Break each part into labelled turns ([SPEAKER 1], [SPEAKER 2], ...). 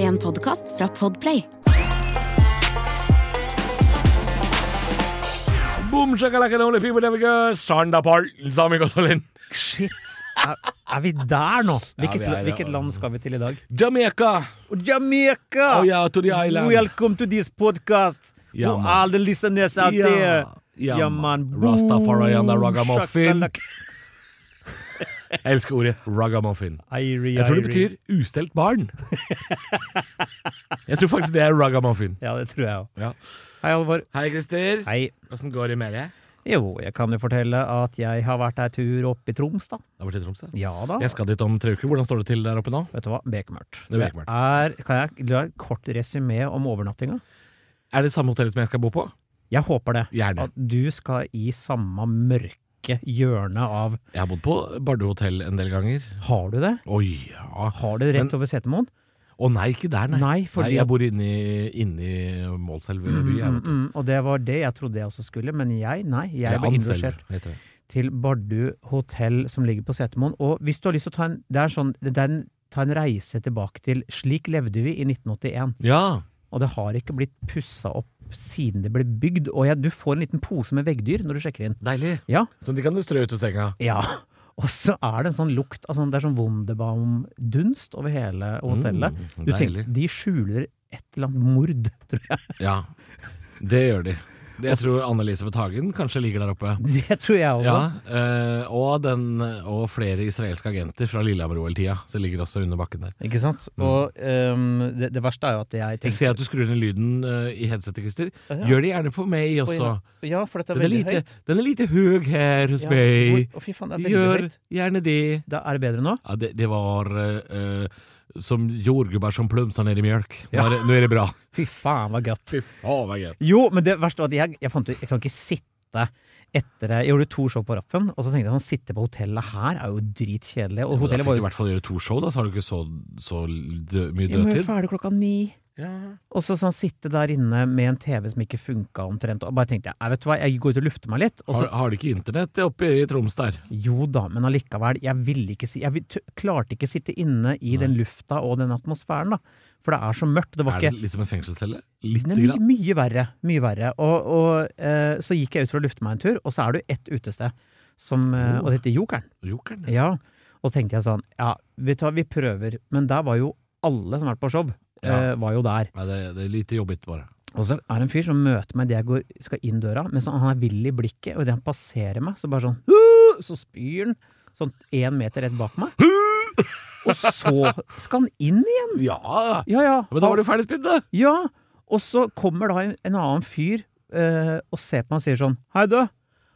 [SPEAKER 1] en podkast fra Podplay.
[SPEAKER 2] Boom, shakalaka, only people never go. Sanda Parl, Sami Gotalin.
[SPEAKER 3] Shit. Er, er vi der nå? Hvilket,
[SPEAKER 2] vi er det,
[SPEAKER 3] hvilket
[SPEAKER 2] og-
[SPEAKER 3] land skal vi til i dag?
[SPEAKER 2] Jamaica.
[SPEAKER 3] Og Jamaica!
[SPEAKER 2] Oh, yeah, to the island.
[SPEAKER 3] Welcome to this podcast.
[SPEAKER 2] Ja,
[SPEAKER 3] to
[SPEAKER 2] man.
[SPEAKER 3] all the listeners out
[SPEAKER 2] Ja,
[SPEAKER 3] there.
[SPEAKER 2] ja,
[SPEAKER 3] Ja,
[SPEAKER 2] man.
[SPEAKER 3] man.
[SPEAKER 2] Rastafari and the
[SPEAKER 3] Boom,
[SPEAKER 2] ragamuffin.
[SPEAKER 3] shakalaka.
[SPEAKER 2] Jeg elsker ordet ragamuffin.
[SPEAKER 3] Airy,
[SPEAKER 2] Jeg tror det
[SPEAKER 3] airy.
[SPEAKER 2] betyr ustelt barn. Jeg tror faktisk det er ragamuffin.
[SPEAKER 3] Ja, det tror jeg òg.
[SPEAKER 2] Ja.
[SPEAKER 3] Hei, Alvor.
[SPEAKER 2] Hei, Christer.
[SPEAKER 3] Hei.
[SPEAKER 2] Åssen går det med deg?
[SPEAKER 3] Jo, jeg kan jo fortelle at jeg har vært ei tur opp i Troms, da.
[SPEAKER 2] Det har vært i Tromsø.
[SPEAKER 3] Ja da.
[SPEAKER 2] Jeg skal dit om tre uker. Hvordan står det til der oppe nå?
[SPEAKER 3] Vet du hva? Bekmørkt.
[SPEAKER 2] Det er bekmørkt.
[SPEAKER 3] Er, kan jeg la et kort resymé om overnattinga?
[SPEAKER 2] Er det samme hotellet som jeg skal bo på?
[SPEAKER 3] Jeg håper det.
[SPEAKER 2] Gjerne.
[SPEAKER 3] At du skal i samme mørke hjørne av
[SPEAKER 2] Jeg har bodd på Bardu hotell en del ganger.
[SPEAKER 3] Har du det?
[SPEAKER 2] Oi, ja.
[SPEAKER 3] Har du det rett
[SPEAKER 2] Men-
[SPEAKER 3] over Setermoen?
[SPEAKER 2] Å nei, ikke der, nei.
[SPEAKER 3] Nei, fordi-
[SPEAKER 2] jeg bor inni, inni Målselv by. Jeg,
[SPEAKER 3] Mm,
[SPEAKER 2] vet du.
[SPEAKER 3] mm, og det var det jeg trodde jeg også skulle, men jeg, nei. Mm. Jeg
[SPEAKER 2] Eller
[SPEAKER 3] ble
[SPEAKER 2] Anselv,
[SPEAKER 3] innlosjert
[SPEAKER 2] heter det.
[SPEAKER 3] til Bardu hotell som ligger på Setermoen. Og hvis du har lyst til å ta en, det er sånn, det er en, ta en reise tilbake til Slik levde vi i 1981.
[SPEAKER 2] Ja.
[SPEAKER 3] Og det har ikke blitt pussa opp siden det ble bygd. Og jeg, du får en liten pose med veggdyr når du sjekker inn.
[SPEAKER 2] Deilig.
[SPEAKER 3] Ja.
[SPEAKER 2] Så de kan du strø ut av senga.
[SPEAKER 3] Ja. Og så er det en sånn lukt av sånn, Det er sånn Wunderbaum-dunst over hele hotellet.
[SPEAKER 2] Mm,
[SPEAKER 3] du
[SPEAKER 2] deilig.
[SPEAKER 3] tenker, De skjuler et eller annet mord, tror jeg.
[SPEAKER 2] Ja, det gjør de. Jeg tror Anne-Elisabeth Hagen kanskje ligger der oppe.
[SPEAKER 3] Det tror jeg også.
[SPEAKER 2] Ja, eh, og, den, og flere israelske agenter fra Lillehammer-OL-tida som ligger også under bakken der.
[SPEAKER 3] Ikke sant? Og ehm, det, det verste er jo at jeg
[SPEAKER 2] Jeg
[SPEAKER 3] tenker
[SPEAKER 2] ser at du skrur ned lyden eh, i headsetet, Christer.
[SPEAKER 3] Ja.
[SPEAKER 2] Gjør det gjerne på meg også.
[SPEAKER 3] Ja, for dette er
[SPEAKER 2] Den er
[SPEAKER 3] veldig
[SPEAKER 2] lite,
[SPEAKER 3] høyt.
[SPEAKER 2] den er lite høg her hos
[SPEAKER 3] Ja,
[SPEAKER 2] meg.
[SPEAKER 3] hvor- Å, fy faen, det er veldig
[SPEAKER 2] Gjør
[SPEAKER 3] høyt.
[SPEAKER 2] gjerne det.
[SPEAKER 3] Da er det bedre nå?
[SPEAKER 2] Ja, det, det var eh, eh, som jordgubber som plumsa ned i mjølk. Nå,
[SPEAKER 3] Ja.
[SPEAKER 2] er det, nå er det bra.
[SPEAKER 3] Fy faen, hva godt.
[SPEAKER 2] Fy faen, hva gøy.
[SPEAKER 3] Jo, men det verste var at jeg, jeg fant ut Jeg kan ikke sitte etter Jeg gjorde to show på rappen, og så tenkte jeg sånn Sitte på hotellet her er jo dritkjedelig. Og
[SPEAKER 2] Da fikk
[SPEAKER 3] hotellet var
[SPEAKER 2] du i
[SPEAKER 3] jo
[SPEAKER 2] hvert fall gjøre to show, da, så har du ikke så, så dø, mye
[SPEAKER 3] Jeg må jo
[SPEAKER 2] dødtid.
[SPEAKER 3] ferdig klokka ni. Og så sånn sitte der inne med en TV som ikke funka omtrent, og bare tenkte jeg, «Nei, vet du hva, jeg går ut og lufter meg litt. Og så,
[SPEAKER 2] Har, har de ikke internett oppe i Troms der?
[SPEAKER 3] jo da, men allikevel, jeg ville ikke si Jeg vil- t klarte ikke sitte inne i den lufta og den atmosfæren, da. For det er så mørkt. Det var
[SPEAKER 2] Er
[SPEAKER 3] ikke
[SPEAKER 2] det litt som en fengselscelle? Litt
[SPEAKER 3] Det er mye,
[SPEAKER 2] grann.
[SPEAKER 3] mye verre. Mye verre. Og, og eh, så gikk jeg ut for å lufte meg en tur, og så er det jo ett utested, som, eh,
[SPEAKER 2] Oh.
[SPEAKER 3] og det heter Jokeren.
[SPEAKER 2] Jokeren?
[SPEAKER 3] Ja. Og tenkte jeg sånn, ja, vet du hva, vi prøver. Men der var jo alle som har vært på show, eh,
[SPEAKER 2] Ja.
[SPEAKER 3] var jo der.
[SPEAKER 2] Nei, det, det er lite jobbigt bare.
[SPEAKER 3] Og så er det en fyr som møter meg idet jeg går, skal inn døra, men så, han er vill i blikket, og idet han passerer meg, så bare sånn «Huh!» Så spyr han sånn én meter rett bak meg. Og så skal han inn igjen!
[SPEAKER 2] Ja!
[SPEAKER 3] Ja, ja.
[SPEAKER 2] Men da var du ferdig spidd, da!
[SPEAKER 3] Ja! Og så kommer da en, en annen fyr eh, og ser på meg og sier sånn Hei, du!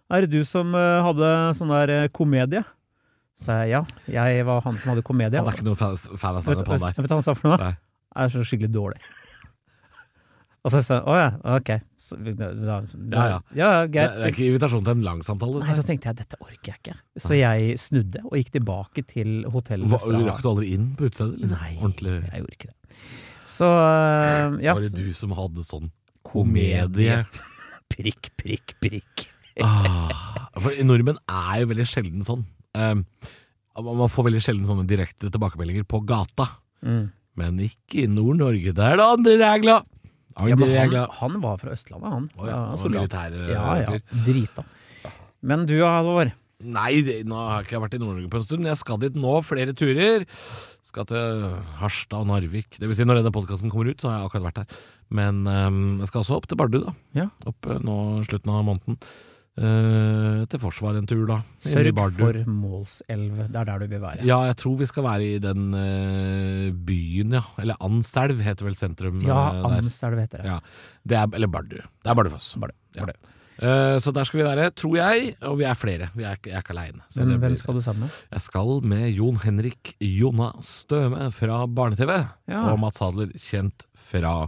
[SPEAKER 3] Er det du som eh, hadde sånn der eh, komedie? Så jeg ja, jeg var han som hadde komedie.
[SPEAKER 2] Han er ikke noen fan, fan av
[SPEAKER 3] Vet
[SPEAKER 2] standup,
[SPEAKER 3] vet-
[SPEAKER 2] han
[SPEAKER 3] vet
[SPEAKER 2] der.
[SPEAKER 3] du hva han sa for noe?
[SPEAKER 2] Nei.
[SPEAKER 3] er så skikkelig dårlig. Og så sa jeg å ja, ok. Så, da, da,
[SPEAKER 2] Ja, ja.
[SPEAKER 3] ja,
[SPEAKER 2] Det,
[SPEAKER 3] greit.
[SPEAKER 2] det er ikke invitasjon til en lang samtale.
[SPEAKER 3] Nei, så tenkte jeg dette orker jeg ikke. Så jeg snudde og gikk tilbake til hotellet.
[SPEAKER 2] Hva,
[SPEAKER 3] fra-
[SPEAKER 2] rakk du aldri inn på utestedet? Liksom?
[SPEAKER 3] Nei,
[SPEAKER 2] Ordentlig.
[SPEAKER 3] jeg gjorde ikke det. Så øh, ja.
[SPEAKER 2] Var det du som hadde sånn komedie?
[SPEAKER 3] Prikk, prikk, prikk.
[SPEAKER 2] Ah, for nordmenn er jo veldig sjelden sånn. Um, man får veldig sjelden sånne direkte tilbakemeldinger på gata.
[SPEAKER 3] Mm.
[SPEAKER 2] Men ikke i Nord-Norge. Der er det andre regler! Andre
[SPEAKER 3] Ja, men han,
[SPEAKER 2] regler.
[SPEAKER 3] han var fra Østlandet, han.
[SPEAKER 2] Å ja, han var
[SPEAKER 3] soldat.
[SPEAKER 2] militær, øh,
[SPEAKER 3] ja, ja.
[SPEAKER 2] fyr.
[SPEAKER 3] Drita. Men du, Halvor.
[SPEAKER 2] Nei, det, nå har jeg ikke vært i Nord-Norge på en stund. Jeg skal dit nå, flere turer. Skal til Harstad og Narvik. Det vil si, når denne podkasten kommer ut, så har jeg akkurat vært der. Men ehm, jeg skal også opp til Bardu, da.
[SPEAKER 3] Ja.
[SPEAKER 2] Opp eh, nå slutten av måneden. Eh, til Forsvaret en tur, da. Inne i
[SPEAKER 3] Sørg
[SPEAKER 2] Bardu.
[SPEAKER 3] for Målselv. Det er der du vil være.
[SPEAKER 2] Ja, jeg tror vi skal være i den eh, byen, ja. Eller Anselv heter vel sentrum
[SPEAKER 3] Ja,
[SPEAKER 2] eh, der.
[SPEAKER 3] Amselv heter det.
[SPEAKER 2] Ja. Det er, eller Bardu. Det er Bardufoss.
[SPEAKER 3] Bardu,
[SPEAKER 2] Ja. Eh, så der skal vi være, tror jeg. Og vi er flere. Vi er, ikke- jeg er ikke aleine.
[SPEAKER 3] Hvem, hvem skal du sammen med?
[SPEAKER 2] Jeg skal med Jon Henrik Jonna Støme fra Barne-TV.
[SPEAKER 3] Ja.
[SPEAKER 2] Og Mats Hadler, kjent fra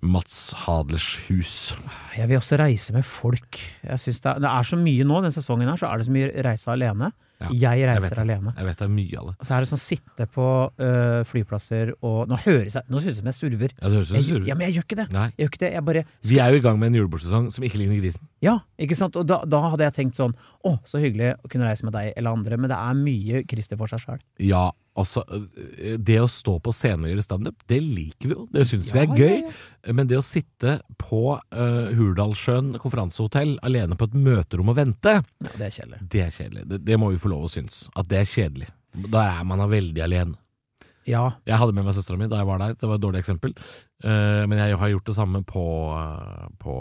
[SPEAKER 2] Mats Hadlers hus.
[SPEAKER 3] Jeg vil også reise med folk. Jeg synes det, er, det er så mye nå, den sesongen her, så er det så mye reise alene.
[SPEAKER 2] Ja,
[SPEAKER 3] jeg
[SPEAKER 2] vet
[SPEAKER 3] reiser
[SPEAKER 2] det.
[SPEAKER 3] alene.
[SPEAKER 2] Jeg vet det er mye av det.
[SPEAKER 3] Og så er det sånn sitte på øh, flyplasser og Nå høres jeg Nå synes jeg som jeg surver.
[SPEAKER 2] Ja, det høres ut
[SPEAKER 3] Jeg,
[SPEAKER 2] som du
[SPEAKER 3] gjør- ja, men jeg gjør ikke det.
[SPEAKER 2] Nei.
[SPEAKER 3] Jeg gjør ikke det. Jeg bare
[SPEAKER 2] Vi er jo i gang med en julebordsesong som ikke ligner grisen.
[SPEAKER 3] Ja, ikke sant? Og da, da hadde jeg tenkt sånn Å, så hyggelig å kunne reise med deg eller andre, men det er mye Christer for seg sjøl.
[SPEAKER 2] Ja, Altså, eh, det å stå på scenen og gjøre standup, det liker vi jo. Det syns vi
[SPEAKER 3] Ja,
[SPEAKER 2] er gøy.
[SPEAKER 3] ja,
[SPEAKER 2] Men det å sitte på eh, Hurdalssjøen konferansehotell alene på et møterom og vente,
[SPEAKER 3] Ja, det er kjedelig.
[SPEAKER 2] det er kjedelig. Det, det må vi få lov å synes. At det er kjedelig. Da er man veldig alene.
[SPEAKER 3] Ja.
[SPEAKER 2] Jeg hadde med meg søstera mi da jeg var der. Det var et dårlig eksempel. Eh, men jeg har gjort det samme på, eh, på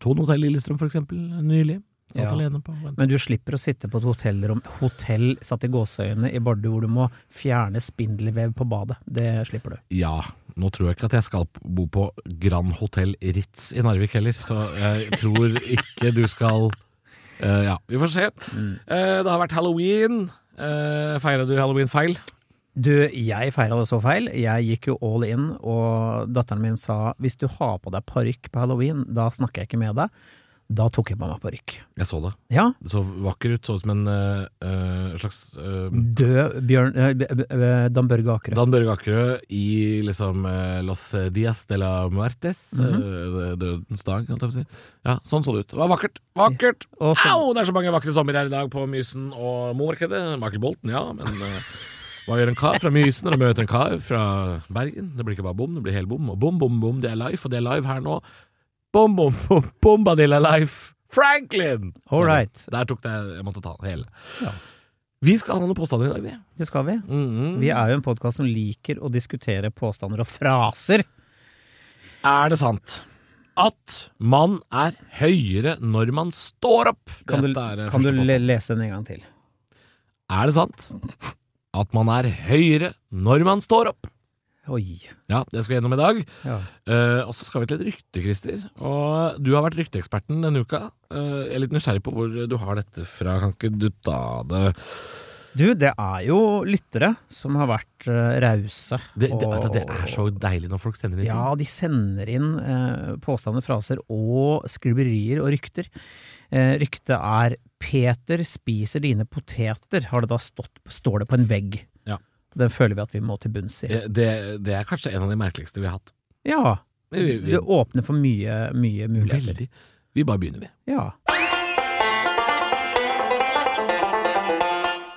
[SPEAKER 2] Thon hotell Lillestrøm, for eksempel, nylig. Satt
[SPEAKER 3] Ja.
[SPEAKER 2] alene på vent.
[SPEAKER 3] Men du slipper å sitte på et hotellrom, hotell satt i gåseøyne i Bardu, hvor du må fjerne spindelvev på badet. Det slipper du.
[SPEAKER 2] Ja, nå tror jeg ikke at jeg skal bo på Grand Hotel Ritz i Narvik heller, så jeg tror ikke du skal Eh, Ja, vi får se. Eh, det har vært halloween. Uh, Feira du halloween feil?
[SPEAKER 3] Du, jeg feira det så feil. Jeg gikk jo all in, og datteren min sa hvis du har på deg parykk på halloween, da snakker jeg ikke med deg. Da tok jeg på meg parykk.
[SPEAKER 2] Jeg så det.
[SPEAKER 3] Ja,
[SPEAKER 2] Det så vakker ut. Så ut som en eh, eh, slags eh,
[SPEAKER 3] død Bjørn eh, B- B- eh, Dan Børge Akerø.
[SPEAKER 2] Dan Børge Akerø i liksom eh, Los Dias de la Muertes.
[SPEAKER 3] Mhm.
[SPEAKER 2] eh, Dødens dag, holdt jeg på å si. Ja, sånn så det ut. Det var vakkert! Vakkert!
[SPEAKER 3] Og sånn. så-
[SPEAKER 2] Au! Det er så mange vakre sommer her i dag på Mysen og Momarkedet. Michael Bolton, ja, men eh, hva gjør en kar fra Mysen når han møter en kar fra Bergen? Det blir ikke bare bom, det blir hel bom. Og bom, bom, bom, det er live, og det er live her nå. Bom, bom, bom, bombadilla life! Franklin!
[SPEAKER 3] All
[SPEAKER 2] Så
[SPEAKER 3] right.
[SPEAKER 2] Der tok det Jeg måtte ta den hele.
[SPEAKER 3] Ja.
[SPEAKER 2] Vi skal ha noen påstander i dag, vi.
[SPEAKER 3] Det skal vi.
[SPEAKER 2] Mhm.
[SPEAKER 3] Vi er jo en podkast som liker å diskutere påstander og fraser.
[SPEAKER 2] Er det sant at man er høyere når man står opp?
[SPEAKER 3] Kan du,
[SPEAKER 2] Dette er eh,
[SPEAKER 3] kan du
[SPEAKER 2] første
[SPEAKER 3] le-
[SPEAKER 2] påstand.
[SPEAKER 3] lese den en gang til?
[SPEAKER 2] Er det sant at man er høyere når man står opp?
[SPEAKER 3] Oi.
[SPEAKER 2] Ja, det skal vi gjennom i dag.
[SPEAKER 3] Ja.
[SPEAKER 2] Eh, og så skal vi til et rykte, Christer. Og du har vært rykteeksperten denne uka. Eh, jeg er litt nysgjerrig på hvor du har dette fra. Kan ikke du ta det
[SPEAKER 3] Du, det er jo lyttere som har vært eh, rause.
[SPEAKER 2] Det, det,
[SPEAKER 3] og-
[SPEAKER 2] vet du, det er så deilig når folk sender inn ting.
[SPEAKER 3] Ja, de sender inn eh, påstander, fraser og skriverier og rykter. Eh, ryktet er 'Peter spiser dine poteter', har det da stått, står det på en vegg.
[SPEAKER 2] Ja.
[SPEAKER 3] Den føler vi at vi må til bunns i.
[SPEAKER 2] Eh, Det, det er kanskje en av de merkeligste vi har hatt.
[SPEAKER 3] Ja.
[SPEAKER 2] Vi, vi,
[SPEAKER 3] Det åpner for mye, mye muligheter.
[SPEAKER 2] veldig. vi bare begynner, vi.
[SPEAKER 3] Ja.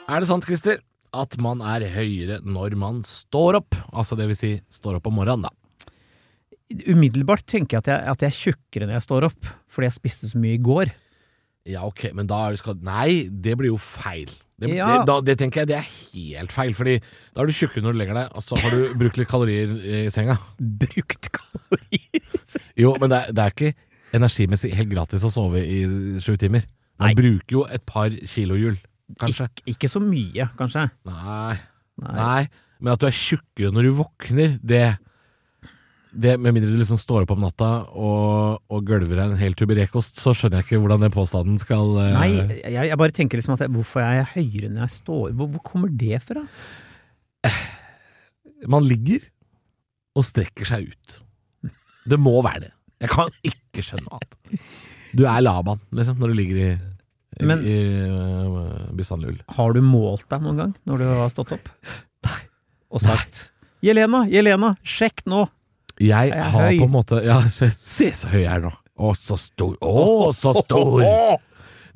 [SPEAKER 2] Er det sant, Christer, at man er høyere når man står opp? Altså det vil si, står opp om morgenen, da.
[SPEAKER 3] Umiddelbart tenker jeg at, jeg at jeg er tjukkere når jeg står opp, fordi jeg spiste så mye i går.
[SPEAKER 2] Ja, ok, men da er du skal... Nei, det blir jo feil. Det,
[SPEAKER 3] Ja.
[SPEAKER 2] det, da, det tenker jeg det er helt feil, fordi da er du tjukkere når du legger deg, og så har du brukt litt kalorier i senga.
[SPEAKER 3] Brukt kalorier!
[SPEAKER 2] Jo, men det er, det er ikke energimessig helt gratis å sove i sju timer. Man
[SPEAKER 3] Nei.
[SPEAKER 2] bruker jo et par kilohjul, kanskje.
[SPEAKER 3] Ik ikke så mye, kanskje.
[SPEAKER 2] Nei.
[SPEAKER 3] Nei.
[SPEAKER 2] Nei, men at du er tjukkere når du våkner, det, det Med mindre du liksom står opp om natta og, og gølver deg en hel tuberekost, så skjønner jeg ikke hvordan den påstanden skal eh,
[SPEAKER 3] Nei, jeg, jeg bare tenker liksom at jeg, hvorfor jeg er høyere når jeg står Hvor, hvor kommer det fra?
[SPEAKER 2] Man ligger og strekker seg ut. Det må være det. Jeg kan ikke skjønne annet. Du er Laban, liksom, når du ligger i, i,
[SPEAKER 3] Men-
[SPEAKER 2] i eh, Bysandlull.
[SPEAKER 3] Har du målt deg noen gang når du har stått opp?
[SPEAKER 2] Nei.
[SPEAKER 3] Og sagt Jelena, Jelena, sjekk nå!
[SPEAKER 2] Jeg
[SPEAKER 3] Jeg er
[SPEAKER 2] har
[SPEAKER 3] høy.
[SPEAKER 2] på en måte ja, Se så høy jeg er nå. Å, så stor. Å, så stor.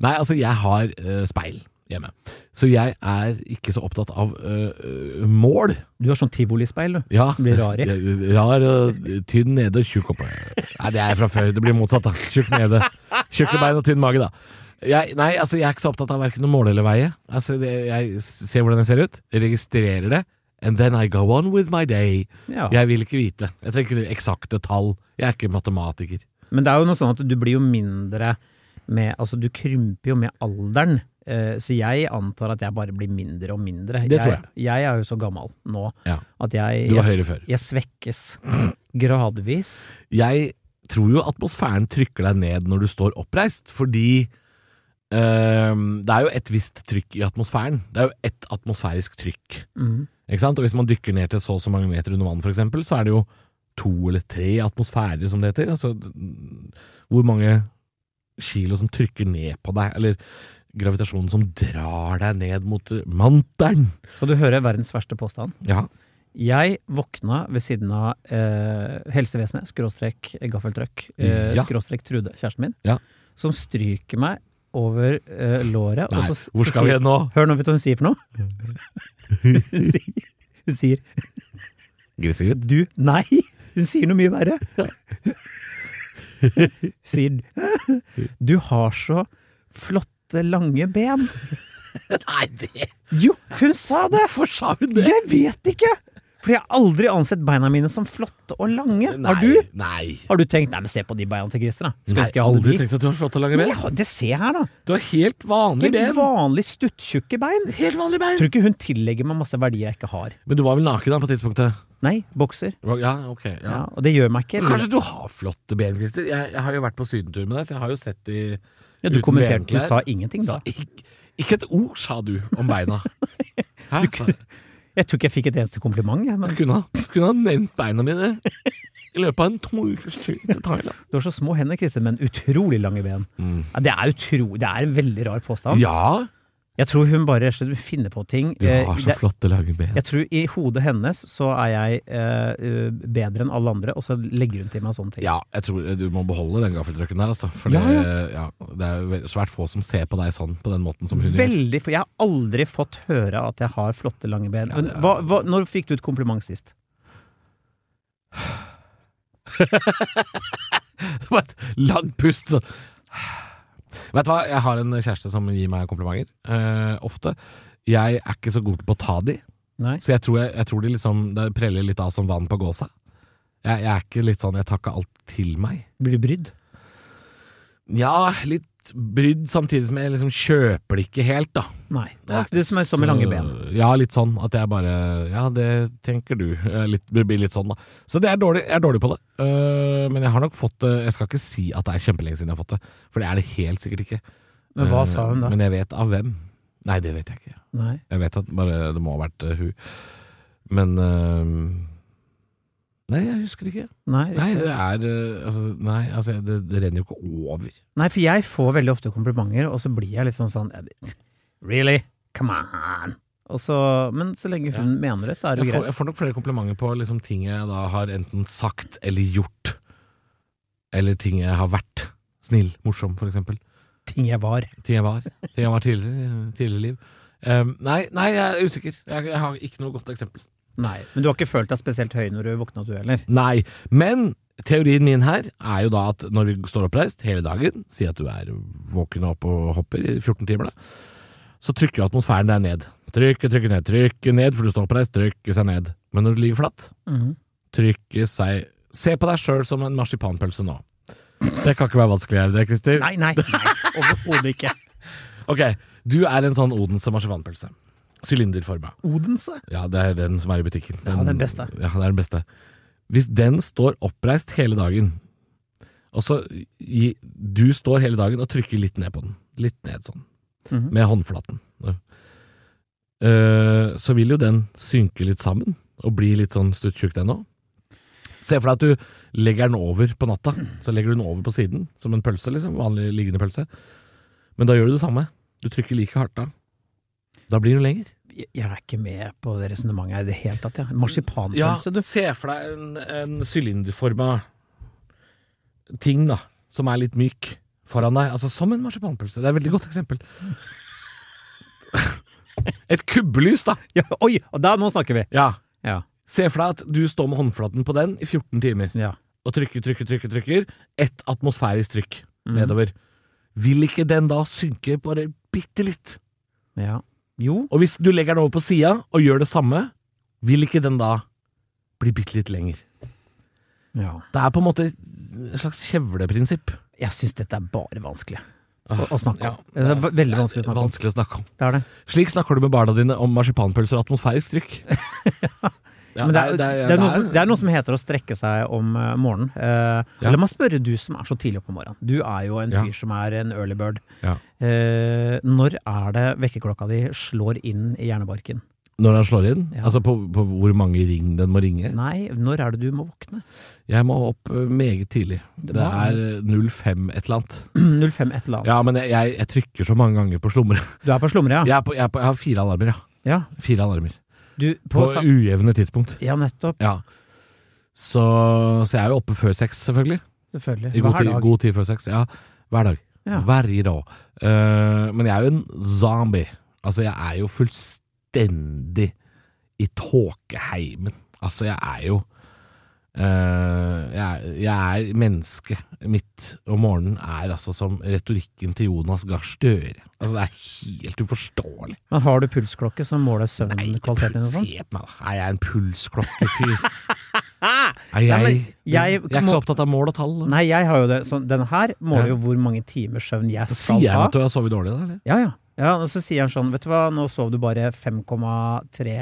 [SPEAKER 2] Nei, altså, jeg har eh, speil hjemme. Så jeg er ikke så opptatt av eh, eh, mål.
[SPEAKER 3] Du har sånn tivolispeil, du.
[SPEAKER 2] Ja.
[SPEAKER 3] Blir rar i.
[SPEAKER 2] Jeg- Rar og tynn nede og tjukk oppe. Nei, det er fra før. Det blir motsatt, da. Tjukk nede. Tjukke bein og tynn mage, da. Jeg, nei, altså, jeg er ikke så opptatt av verken å måle eller veie. Altså, det, jeg ser hvordan jeg ser ut, registrerer det, and then I go on with my day.
[SPEAKER 3] Ja.
[SPEAKER 2] Jeg vil ikke vite. Jeg trenger ikke eksakte tall. Jeg er ikke matematiker.
[SPEAKER 3] Men det er jo noe sånn at du blir jo mindre med Altså, du krymper jo med alderen. eh, Så jeg antar at jeg bare blir mindre og mindre.
[SPEAKER 2] Det tror jeg.
[SPEAKER 3] Jeg er jo så gammel nå
[SPEAKER 2] Ja.
[SPEAKER 3] at jeg
[SPEAKER 2] Du var
[SPEAKER 3] jeg,
[SPEAKER 2] høyere før.
[SPEAKER 3] jeg svekkes gradvis.
[SPEAKER 2] Jeg tror jo atmosfæren trykker deg ned når du står oppreist, fordi ehm, det er jo et visst trykk i atmosfæren. Det er jo ett atmosfærisk trykk.
[SPEAKER 3] Mm.
[SPEAKER 2] Ikke sant? Og hvis man dykker ned til så og så mange meter under vann, for eksempel, så er det jo to eller tre atmosfærer, som det heter. Altså mm, hvor mange kilo som trykker ned på deg, eller gravitasjonen som drar deg ned mot eh, mantelen.
[SPEAKER 3] Skal du høre verdens verste påstand?
[SPEAKER 2] Ja.
[SPEAKER 3] Jeg våkna ved siden av eh, helsevesenet, skråstrek gaffeltrøkk, eh,
[SPEAKER 2] Ja.
[SPEAKER 3] skråstrek Trude, kjæresten min,
[SPEAKER 2] Ja.
[SPEAKER 3] som stryker meg over eh, låret.
[SPEAKER 2] Nei,
[SPEAKER 3] og så,
[SPEAKER 2] hvor
[SPEAKER 3] så
[SPEAKER 2] skal vi
[SPEAKER 3] sier,
[SPEAKER 2] nå?
[SPEAKER 3] Hør nå, vet du hva hun sier for noe? Hun sier, hun sier
[SPEAKER 2] Grisegutt.
[SPEAKER 3] Du, nei! Hun sier noe mye verre. Hun sier Du har så flotte, lange ben.
[SPEAKER 2] Nei, det
[SPEAKER 3] Jo, hun sa det!
[SPEAKER 2] Hvorfor sa hun det?
[SPEAKER 3] Jeg vet ikke! Fordi jeg har aldri ansett beina mine som flotte og lange.
[SPEAKER 2] Nei,
[SPEAKER 3] Har du?
[SPEAKER 2] Nei.
[SPEAKER 3] Har du tenkt Nei, men se på de beina til Christer, da. Skulle ønske jeg hadde
[SPEAKER 2] aldri
[SPEAKER 3] de.
[SPEAKER 2] tenkt at du har flotte lange
[SPEAKER 3] Men
[SPEAKER 2] ben.
[SPEAKER 3] jeg har- Det ser jeg her, da.
[SPEAKER 2] Du har helt vanlige
[SPEAKER 3] Helt
[SPEAKER 2] ben.
[SPEAKER 3] vanlig stuttjukke bein.
[SPEAKER 2] Helt vanlige bein.
[SPEAKER 3] Tror ikke hun tillegger meg masse verdier jeg ikke har.
[SPEAKER 2] Men du var vel naken da på tidspunktet?
[SPEAKER 3] Nei, bokser.
[SPEAKER 2] Ja, ok. Ja.
[SPEAKER 3] Ja, og det gjør meg ikke.
[SPEAKER 2] Men Kanskje du har flotte ben, Christer. Jeg, jeg har jo vært på sydentur med deg, så jeg har jo sett de
[SPEAKER 3] Ja, du
[SPEAKER 2] uten
[SPEAKER 3] kommenterte, du
[SPEAKER 2] benklær.
[SPEAKER 3] sa ingenting da.
[SPEAKER 2] Sa ikke, ikke et ord sa du om beina. Hæ? Du
[SPEAKER 3] Jeg tror ikke jeg fikk et eneste kompliment, jeg, men
[SPEAKER 2] kunne, ha- kunne ha nevnt beina mine i løpet av en to ukers tur til Thailand.
[SPEAKER 3] du har så små hender, Kristin, men utrolig lange ben. Ja, det, er utro, det er en veldig rar påstand.
[SPEAKER 2] Mm. Ja,
[SPEAKER 3] Jeg tror hun bare rett og slett finner på ting.
[SPEAKER 2] du
[SPEAKER 3] Eh,
[SPEAKER 2] har så
[SPEAKER 3] det-
[SPEAKER 2] flotte lange ben.
[SPEAKER 3] jeg tror i hodet hennes så er jeg eh, eh, bedre enn alle andre, og så legger hun til meg sånne ting.
[SPEAKER 2] Ja, jeg tror du må beholde den gaffeltrucken der, altså. For
[SPEAKER 3] Ja, ja.
[SPEAKER 2] Det, ja, det er jo ve- svært få som ser på deg sånn, på den måten som hun gjør.
[SPEAKER 3] Veldig, for jeg har aldri fått høre at jeg har flotte, lange ben.
[SPEAKER 2] Ja,
[SPEAKER 3] Men
[SPEAKER 2] det er-
[SPEAKER 3] hva, hva, når fikk du et kompliment sist?
[SPEAKER 2] Det var et langt pust. Så. Vet du hva, jeg har en kjæreste som gir meg komplimenter, eh, ofte. Jeg er ikke så god på å ta de,
[SPEAKER 3] Nei?
[SPEAKER 2] så jeg tror, jeg, jeg tror de liksom, det preller litt av som vann på gåsa. Jeg, jeg er ikke litt sånn, jeg tar ikke alt til meg.
[SPEAKER 3] Blir du brydd?
[SPEAKER 2] Ja, litt brydd samtidig som jeg liksom kjøper det ikke helt, da.
[SPEAKER 3] Nei. Det er ikke du som er sånn med lange ben.
[SPEAKER 2] Så- Ja, litt sånn at jeg bare Ja, det tenker du. Eh, Litt, det blir litt sånn, da. Så det er dårlig, jeg er dårlig på det. Eh, men jeg har nok fått det Jeg skal ikke si at det er kjempelenge siden jeg har fått det, for det er det helt sikkert ikke.
[SPEAKER 3] Men hva
[SPEAKER 2] Eh,
[SPEAKER 3] sa hun da?
[SPEAKER 2] Men jeg vet av hvem. Nei, det vet jeg ikke.
[SPEAKER 3] Nei.
[SPEAKER 2] Jeg vet at bare det må ha vært eh, hun. Men eh, Nei, jeg husker ikke.
[SPEAKER 3] Nei,
[SPEAKER 2] Nei,
[SPEAKER 3] riktig.
[SPEAKER 2] det er eh, altså, Nei, altså, det, det renner jo ikke over.
[SPEAKER 3] Nei, for jeg får veldig ofte komplimenter, og så blir jeg litt sånn sånn Really? Come on! Og så, men så lenge hun mener det, så er det
[SPEAKER 2] Jeg får,
[SPEAKER 3] greit.
[SPEAKER 2] jeg får nok flere komplimenter på liksom, ting jeg da har enten sagt eller gjort. Eller ting jeg har vært. Snill, morsom, for eksempel.
[SPEAKER 3] Ting jeg var.
[SPEAKER 2] Ting jeg var. Ting jeg var tidligere, tidligere liv. Ehm, nei, nei, jeg er usikker. Jeg, jeg har ikke noe godt eksempel.
[SPEAKER 3] Nei, Men du har ikke følt deg spesielt høy når du våkna, du heller?
[SPEAKER 2] Nei, men teorien min her er jo da at når vi står oppreist hele dagen, si at du er våken og oppe og hopper i 14 timer, da, så trykker jo atmosfæren deg ned. Trykke, trykke ned, trykke ned, for du står oppreist, trykke seg ned. Men når du ligger flatt, trykke seg Se på deg sjøl som en marsipanpølse nå. Det kan ikke være vanskeligere, det, Christer.
[SPEAKER 3] Nei, nei, nei overhodet ikke.
[SPEAKER 2] Ok, Du er en sånn Odense marsipanpølse. Sylinderforma.
[SPEAKER 3] Odense?
[SPEAKER 2] Ja, det er den som er i butikken.
[SPEAKER 3] Ja, den beste.
[SPEAKER 2] Ja, det er den beste. Hvis den står oppreist hele dagen, og så gi, du står hele dagen og trykker litt ned på den, litt ned sånn,
[SPEAKER 3] Mhm.
[SPEAKER 2] med håndflaten, Eh, så vil jo den synke litt sammen, og bli litt sånn stuttjukk den òg. Se for deg at du legger den over på natta. Så legger du den over på siden, som en pølse, liksom. Vanlig liggende pølse. Men da gjør du det samme. Du trykker like hardt da. Da blir den lenger.
[SPEAKER 3] Jeg jeg er ikke med på det resonnementet i det hele tatt. Ja. Marsipanpølse, du.
[SPEAKER 2] se for deg en, en sylinderforma ting, da, som er litt myk foran deg. Altså som en marsipanpølse. Det er et veldig godt eksempel. Et kubbelys, da.
[SPEAKER 3] Ja, oi! Og der, nå snakker vi!
[SPEAKER 2] Ja.
[SPEAKER 3] Ja.
[SPEAKER 2] Se for deg at du står med håndflaten på den i 14 timer
[SPEAKER 3] ja.
[SPEAKER 2] og trykker, trykker, trykker. trykker Ett atmosfærisk trykk nedover. Vil ikke den da synke bare bitte litt?
[SPEAKER 3] ja. Jo,
[SPEAKER 2] Og hvis du legger den over på sida og gjør det samme, vil ikke den da bli bitte litt lenger?
[SPEAKER 3] ja.
[SPEAKER 2] Det er på en måte et slags kjevleprinsipp.
[SPEAKER 3] Jeg syns dette er bare vanskelig å, å snakke om. det, er ve- veldig vanskelig å snakke om.
[SPEAKER 2] Vanskelig å snakke om.
[SPEAKER 3] Det er det.
[SPEAKER 2] Slik snakker du med barna dine om marsipanpølser og atmosfærisk trykk. Ja,
[SPEAKER 3] Men det er, det, er,
[SPEAKER 2] det er-
[SPEAKER 3] noe som, det er noe som heter å strekke seg om eh, morgenen. Eh,
[SPEAKER 2] Ja.
[SPEAKER 3] La meg spørre du som er så tidlig oppe om morgenen. Du er jo en
[SPEAKER 2] Ja.
[SPEAKER 3] fyr som er en early bird.
[SPEAKER 2] Ja.
[SPEAKER 3] Eh, når er det vekkerklokka di slår inn i hjernebarken?
[SPEAKER 2] Når den slår inn?
[SPEAKER 3] Ja.
[SPEAKER 2] Altså på, på hvor mange ring den må ringe?
[SPEAKER 3] Nei, når er det du må våkne?
[SPEAKER 2] Jeg må opp eh, meget tidlig. Det
[SPEAKER 3] må-
[SPEAKER 2] er eh, 05 et eller annet.
[SPEAKER 3] 05 et eller annet.
[SPEAKER 2] Ja, men jeg, jeg, jeg trykker så mange ganger på slumre.
[SPEAKER 3] Du er på slumre, ja?
[SPEAKER 2] Jeg, er på, jeg, er på, jeg har fire alarmer, ja.
[SPEAKER 3] Ja,
[SPEAKER 2] Fire alarmer.
[SPEAKER 3] du,
[SPEAKER 2] På
[SPEAKER 3] på, sam-
[SPEAKER 2] ujevne tidspunkt.
[SPEAKER 3] ja nettopp.
[SPEAKER 2] Ja. Så, så jeg er jo oppe før seks, selvfølgelig. I
[SPEAKER 3] Selvfølgelig.
[SPEAKER 2] god
[SPEAKER 3] Hver
[SPEAKER 2] tid,
[SPEAKER 3] dag.
[SPEAKER 2] god tid før sex. Ja, hver dag.
[SPEAKER 3] Ja.
[SPEAKER 2] Hver dag. Eh, men jeg er jo en zombie. Altså, jeg er jo fullstendig i tåkeheimen. Altså, jeg er jo eh, jeg, er- jeg er menneske mitt om morgenen er altså som retorikken til Jonas Gahr Støre. Altså, det er helt uforståelig.
[SPEAKER 3] Men har du pulsklokke som måler
[SPEAKER 2] Nei,
[SPEAKER 3] søvnkvaliteten din
[SPEAKER 2] puls,
[SPEAKER 3] og sånn?
[SPEAKER 2] se på meg, da. Er jeg en pulsklokkefyr? Er
[SPEAKER 3] Nei,
[SPEAKER 2] jeg,
[SPEAKER 3] men jeg-
[SPEAKER 2] jeg er ikke så opptatt av mål og tall. da.
[SPEAKER 3] sånn? Nei, jeg har jo det. Så den her måler
[SPEAKER 2] Ja.
[SPEAKER 3] jo hvor mange timer søvn jeg skal
[SPEAKER 2] Sier jeg
[SPEAKER 3] ha.
[SPEAKER 2] at du har sovet dårlig, da? Eller?
[SPEAKER 3] Ja, ja. ja og så sier han sånn, vet du hva, nå sov du bare 5,3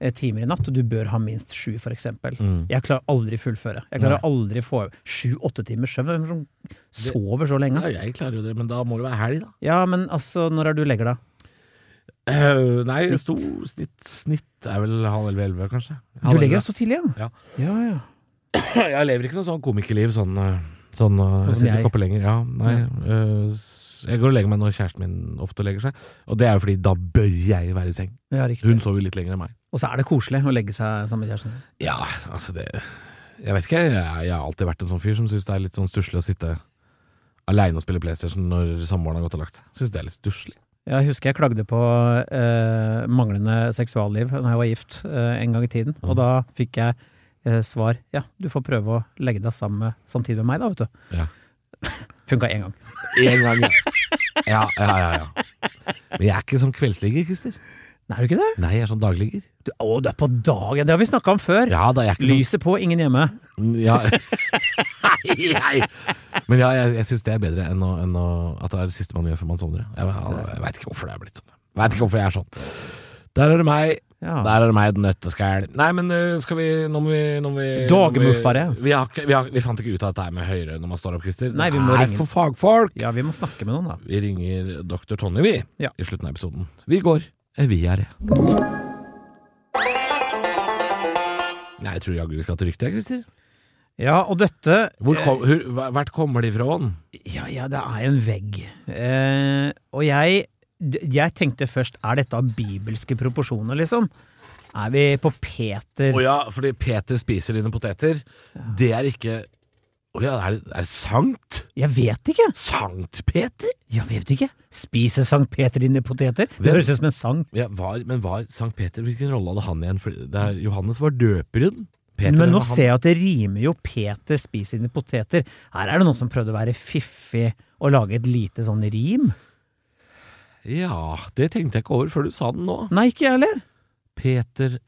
[SPEAKER 3] eh, timer i natt, og du bør ha minst sju, for eksempel.
[SPEAKER 2] Mm.
[SPEAKER 3] Jeg klarer aldri fullføre. Jeg klarer aldri få sju-åtte timer søvn. Hvem er det som sover så lenge?
[SPEAKER 2] Ja, jeg klarer jo det, men da må det være helg, da.
[SPEAKER 3] Ja, men altså, når er du legger deg?
[SPEAKER 2] Eh, nei,
[SPEAKER 3] Snitt.
[SPEAKER 2] Sto, snitt, snitt er vel halv elleve, elleve, kanskje.
[SPEAKER 3] Du
[SPEAKER 2] Halv elleve.
[SPEAKER 3] legger deg så tidlig, ja?
[SPEAKER 2] Ja.
[SPEAKER 3] Ja, ja.
[SPEAKER 2] Jeg lever ikke noe sånn komikerliv, sånn, eh, sånn, eh,
[SPEAKER 3] som
[SPEAKER 2] Jeg sitter
[SPEAKER 3] jeg.
[SPEAKER 2] ikke oppe lenger. Ja, nei. eh, s- jeg går og legger meg når kjæresten min ofte legger seg, og det er jo fordi da bør jeg være i seng.
[SPEAKER 3] ja riktig.
[SPEAKER 2] Hun sover jo litt lenger enn meg.
[SPEAKER 3] Og så er det koselig å legge seg sammen med kjæresten.
[SPEAKER 2] Ja, altså det Jeg vet ikke, jeg, jeg har alltid vært en sånn fyr som syns det er litt sånn stusslig å sitte aleine og spille PlayStation når samboeren har gått og lagt seg. Syns det er litt stusslig.
[SPEAKER 3] Jeg husker jeg klagde på eh, manglende seksualliv da jeg var gift eh, en gang i tiden. Og da fikk jeg eh, svar ja, du får prøve å legge deg sammen med, samtidig med meg, da, vet du.
[SPEAKER 2] Ja.
[SPEAKER 3] Funka én gang.
[SPEAKER 2] Én gang, ja. Ja, ja, ja, ja. Men jeg er ikke som kveldsligger, Christer.
[SPEAKER 3] Nei, er du ikke det?
[SPEAKER 2] Nei, jeg er sånn dagligger.
[SPEAKER 3] Du, å, det er på dagen! Det har vi snakka om før!
[SPEAKER 2] Ja da, jeg er ikke sånn
[SPEAKER 3] Lyset på, ingen hjemme.
[SPEAKER 2] ja. Nei, nei. Men ja, jeg, jeg syns det er bedre enn, å, enn å, at det er det siste man gjør før man sovner. Jeg, jeg, jeg veit ikke hvorfor det er blitt sånn. Veit ikke hvorfor jeg er sånn. Der er det meg.
[SPEAKER 3] Ja.
[SPEAKER 2] Der er det meg, den nøtteskall. Nei, men øh, skal vi Nå må vi, nå må vi nå må vi-
[SPEAKER 3] Dagmuffare.
[SPEAKER 2] Vi, har ikke- vi, har- vi fant ikke ut av dette her med høyre når man står opp, Christer.
[SPEAKER 3] Nei, vi må
[SPEAKER 2] det er
[SPEAKER 3] ringe.
[SPEAKER 2] for fagfolk.
[SPEAKER 3] ja, vi må snakke med noen, da.
[SPEAKER 2] Vi ringer doktor Tonje, vi,
[SPEAKER 3] Ja.
[SPEAKER 2] i slutten av episoden. Vi går. Eh, Vi er det. Nei, jeg tror jaggu vi skal til ryktet, Christer.
[SPEAKER 3] Ja, og dette
[SPEAKER 2] Hvor kom, hur, hva- hvert kommer de fra?
[SPEAKER 3] Ja, ja, det er jo en vegg. Eh, og jeg, d- jeg tenkte først, er dette av bibelske proporsjoner, liksom? Er vi på Peter?
[SPEAKER 2] Å ja, fordi Peter spiser dine poteter. Det er ikke Å ja, er det, er det Sankt?
[SPEAKER 3] Jeg vet ikke!
[SPEAKER 2] Sankt Peter?
[SPEAKER 3] Jeg vet ikke. Spiser Sankt Peter dine poteter? Det
[SPEAKER 2] Hvem-
[SPEAKER 3] høres ut som en sang.
[SPEAKER 2] Ja, var, men var Sankt Peter Hvilken rolle hadde han igjen? Fordi det er, Johannes var døperen. Peter,
[SPEAKER 3] Men nå
[SPEAKER 2] han-
[SPEAKER 3] ser jeg at det rimer jo Peter spiser dine poteter. Her er det noen som prøvde å være fiffig og lage et lite sånn rim.
[SPEAKER 2] Ja, det tenkte jeg ikke over før du sa den nå.
[SPEAKER 3] Nei, ikke jeg heller.
[SPEAKER 2] Peter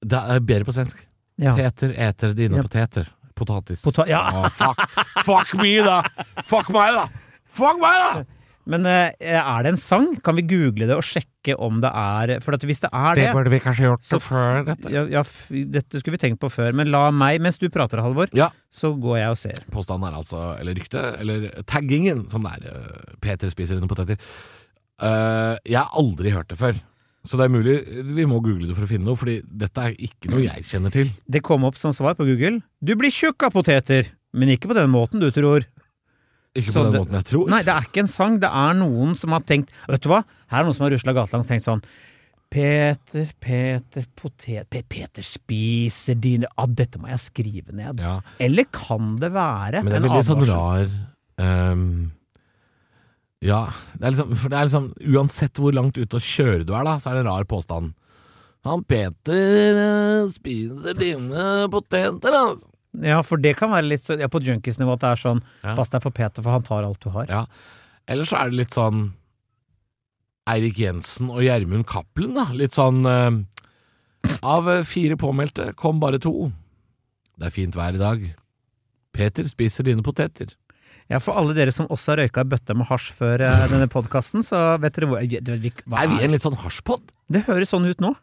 [SPEAKER 2] Det er bedre på svensk.
[SPEAKER 3] Ja.
[SPEAKER 2] Peter eter dine
[SPEAKER 3] Ja.
[SPEAKER 2] poteter. Potatis.
[SPEAKER 3] Pota- ja.
[SPEAKER 2] Ah, fuck, fuck me, da! Fuck meg, da! Fuck meg, da!
[SPEAKER 3] Men eh, er det en sang? Kan vi google det og sjekke om det er For at hvis det er det,
[SPEAKER 2] burde vi kanskje gjort
[SPEAKER 3] Så-
[SPEAKER 2] før dette.
[SPEAKER 3] ja, ja, f- Dette skulle vi tenkt på før, men la meg, mens du prater, Halvor,
[SPEAKER 2] Ja.
[SPEAKER 3] så går jeg og ser.
[SPEAKER 2] Påstanden er altså, eller ryktet, eller taggingen, som det er øh, Peter spiser dine poteter. Eh, jeg har aldri hørt det før. Så det er mulig vi må google det for å finne noe, fordi dette er ikke noe jeg kjenner til.
[SPEAKER 3] Det kom opp som svar på Google. Du blir tjukk av poteter, men ikke på den måten du tror.
[SPEAKER 2] Ikke
[SPEAKER 3] Så
[SPEAKER 2] på den
[SPEAKER 3] det-
[SPEAKER 2] måten jeg tror.
[SPEAKER 3] Nei, det er ikke en sang. Det er noen som har tenkt Vet du hva? Her er noen som har rusla gatelangs og tenkt sånn Peter, Peter, potet... Pe Peter spiser dine ah, Dette må jeg skrive ned.
[SPEAKER 2] Ja,
[SPEAKER 3] Eller kan det være
[SPEAKER 2] men det er
[SPEAKER 3] en
[SPEAKER 2] veldig sånn
[SPEAKER 3] advarsel?
[SPEAKER 2] rar ehm, Ja, det er liksom, for det er liksom Uansett hvor langt ute å kjøre du er, da, så er det en rar påstand. Han Peter eh, spiser dine poteter, altså.
[SPEAKER 3] Ja, for det kan være litt så, ja, på junkies-nivå at det er sånn
[SPEAKER 2] Ja.
[SPEAKER 3] Pass deg for Peter, for han tar alt du har.
[SPEAKER 2] Ja. Eller så er det litt sånn Eirik Jensen og Gjermund Cappelen, da. Litt sånn eh, Av eh, fire påmeldte kom bare to. Det er fint vær i dag. Peter spiser dine poteter.
[SPEAKER 3] Ja, For alle dere som også har røyka ei bøtte med hasj før eh, denne podkasten, så vet dere hvor jeg- vet vi- Hva
[SPEAKER 2] Er vi
[SPEAKER 3] er det?
[SPEAKER 2] en litt sånn hasjpod?
[SPEAKER 3] Det høres sånn ut nå.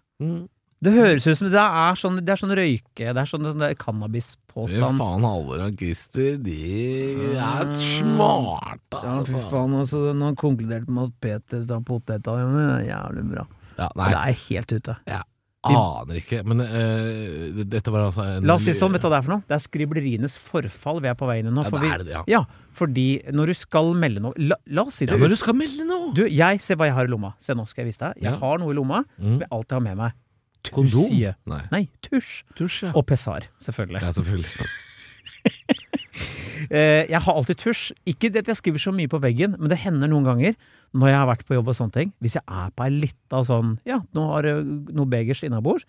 [SPEAKER 3] Det høres ut som det er sånn, det er sånn røyke... Det er sånn, det er
[SPEAKER 2] Fy
[SPEAKER 3] cannabispåstand.
[SPEAKER 2] faen, Halvor og Christer, de er smarte, altså.
[SPEAKER 3] Ah. faen, altså. Nå konkluderte med at Peter tar poteta dine. Jævlig bra.
[SPEAKER 2] Ja, nei,
[SPEAKER 3] Det er helt ute.
[SPEAKER 2] aner ikke. Men eh, det- dette var altså en
[SPEAKER 3] La oss si sånn, vet du hva det er for noe? Det er skriblerienes forfall vi er på vei inn i nå.
[SPEAKER 2] Ja,
[SPEAKER 3] for
[SPEAKER 2] det
[SPEAKER 3] vi-
[SPEAKER 2] er det, ja.
[SPEAKER 3] Ja, fordi når du skal melde noe La, la oss si det
[SPEAKER 2] Ja, når du skal melde nå!
[SPEAKER 3] Du, jeg, se hva jeg har i lomma. Se nå skal jeg vise deg. Jeg
[SPEAKER 2] Ja. Mm.
[SPEAKER 3] har noe i lomma som jeg alltid har med meg. Tusje.
[SPEAKER 2] Nei.
[SPEAKER 3] Nei, tusj.
[SPEAKER 2] Tusj, ja.
[SPEAKER 3] Og pessar, selvfølgelig.
[SPEAKER 2] Ja, selvfølgelig.
[SPEAKER 3] Eh, jeg har alltid tusj. Ikke det at jeg skriver så mye på veggen, men det hender noen ganger når jeg har vært på jobb og sånne ting, hvis jeg er på ei lita sånn Ja, nå har jeg noe eh, begers innabords,